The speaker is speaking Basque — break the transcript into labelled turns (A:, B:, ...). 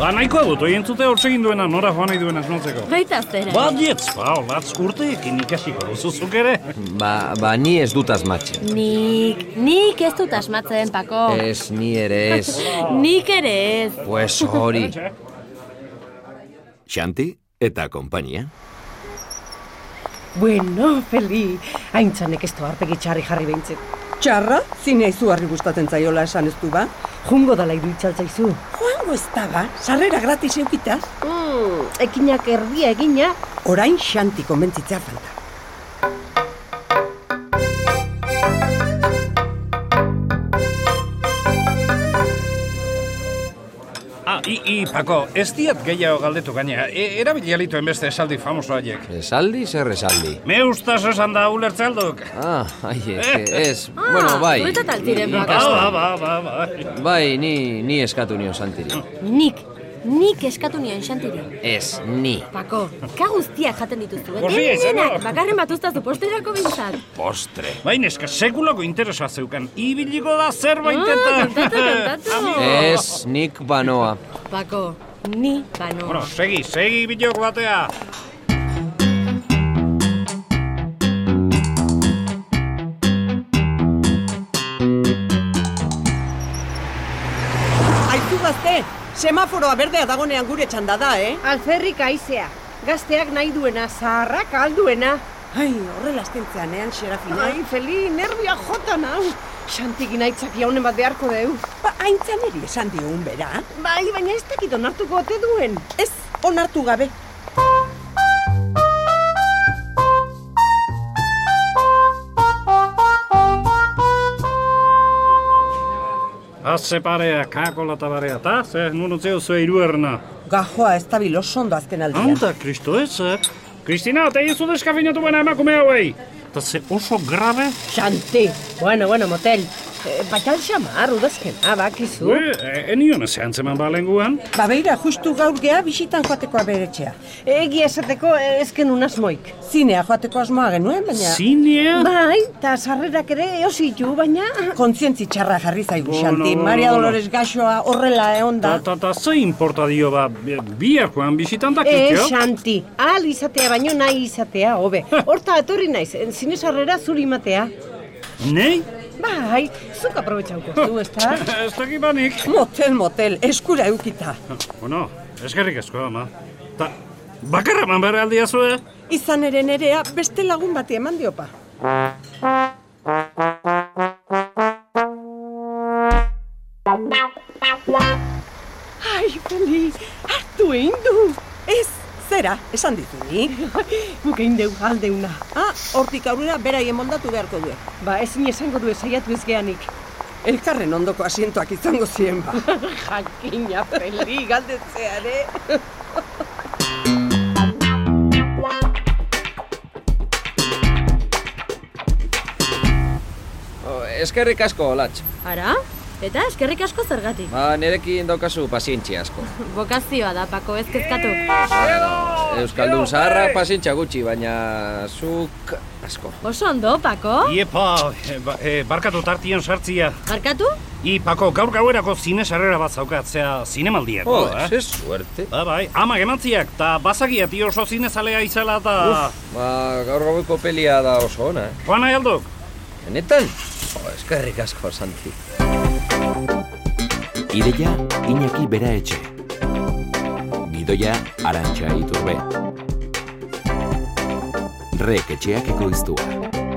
A: Ba, nahikoa dut, oien zute hor egin duena, nora joan nahi duena esnatzeko.
B: Baita eh? zera.
A: Badietz, ba, olatz urteekin ikasiko duzuzuk ere.
C: Ba, ba ni ez dut asmatzen.
B: Nik, nik ez dut asmatzen, Pako.
C: Ez, ni ere ez.
B: Nik ere ez.
C: Pues hori.
D: Xanti eta konpainia.
E: Bueno, Feli, haintzanek ez toarpegi txarri jarri behintzet.
F: Txarra, zine izugarri gustatzen zaiola esan ez du ba?
E: Jungo dala iruditzal zaizu.
F: Joango ez da ba, sarrera gratis eukitaz.
B: Mm, ekinak erdia egina.
F: Orain xanti konbentzitzea falta.
A: Ah, i, i, Pako, ez diat gehiago galdetu gaina, e, erabili alitoen beste esaldi famoso haiek.
C: Esaldi, zer esaldi.
A: Me ustaz esan da ulertzalduk.
C: Ah, ai, ez, ez, bueno, bai.
B: Zuetat altiren,
A: Ba,
B: Pako.
A: ba, ba, ba, ba.
C: Bai, ni, ni eskatu nion santiri.
B: Nik, nik eskatu nion xantiri.
C: Ez, ni.
B: Pako, ka guztiak jaten dituzu, eh?
A: Gorria izan da.
B: Denak, bakarren bat ustazu posterako bintzat.
D: Postre.
A: Baina eska Bai, sekulako interesa zeukan, ibiliko da ba zerbait
B: Ah,
A: eta...
B: kontatu, kontatu.
A: Amigo.
C: Ez, nik banoa.
B: Pako, ni bano.
A: Bueno, segi, segi bilok batea.
F: Aizu gazte, semaforoa berdea dagonean gure txanda da, eh?
E: Alferrik aizea, gazteak nahi duena, zaharrak alduena.
F: Ai, horrela astentzean ean xerafina.
E: Ai, Feli, nervia jota nau. Bai. Xantik inaitzak jaunen bat beharko deu.
F: Ba, haintzan eri esan diogun bera.
E: Bai, baina ez dakit onartuko ote duen.
F: Ez, onartu gabe.
A: Haze parea, kakola eta barea, eta ze, nun utzeu zue hiru erna.
F: Gajoa ez da bilosondo azken aldian.
A: Anta, kristo ez, eh? Kristina, te hizu deskafinatu baina emakume hauei. Eta ze oso grabe?
E: Xanti, bueno, bueno, motel. Eh, Batal xamar, udazkena, bakizu.
A: Ue, e, enion ez antzeman balenguan.
F: Ba beira, justu gaur gea bisitan joatekoa beretxea.
E: Egi esateko eh, ezken unasmoik.
F: Zinea joateko asmoa genuen, baina
A: Zinea?
F: Ba.
E: Bai, eta sarrerak ere eositu, baina...
F: kontzientzi txarra jarri zaigu,
A: Bueno,
F: Xanti.
A: bueno,
F: Maria
A: bueno.
F: Dolores gaxoa horrela eh, egon da.
A: Ta, ta, ta, ze importa dio ba, bi- bihar joan bisitan da
E: Eh,
A: kitio?
E: Xanti, ahal izatea baino nahi izatea, hobe. Horta atorri naiz, en- zine sarrera zuri matea.
A: Nei?
E: Bai, zuk aprobetxauko du, ez da?
A: ez dakibanik.
F: Motel, motel, eskura eukita.
A: Bueno, eskerrik asko, ama. Ta, bakarra man bere aldia zue?
F: Izan ere nerea beste lagun bati eman diopa.
E: Ai, Feli, hartu egin du.
F: Ez, zera, esan ditu nik.
E: Guk egin deu aldeuna.
F: Ah, hortik aurrera beraien moldatu beharko du.
E: Ba, ezin esango du esaiatu ez geanik.
F: Elkarren ondoko asientoak izango ziren ba.
E: Jakina, Feli, galdetzea ere.
C: O, Eskerrik asko, Olatz.
B: Ara? Eta eskerrik asko zergatik.
C: Ba, nerekin daukazu pazientzia asko.
B: Bokazioa da, Pako, ez kezkatu.
C: Euskaldun zaharrak pazientzia gutxi, baina zuk asko.
B: Oso ondo, Pako?
A: Iepa, e, ba, e, barkatu tartien sartzia.
B: Barkatu?
A: Ipako gaur gauerako zine sarrera bat zaukatzea zinemaldiako,
C: Jo,
A: eh?
C: ze suerte.
A: Ba, bai, ama gemantziak, eta bazagia ti oso zinezalea izala eta...
C: Ba, gaur gaueko pelia da oso ona, eh?
A: Joan nahi alduk?
C: Benetan? Jo, eskerrik asko, Santi.
D: Ideia Iñaki Bera Etxe. Gidoia Arantxa Iturbe. Rek etxeak ekoiztua.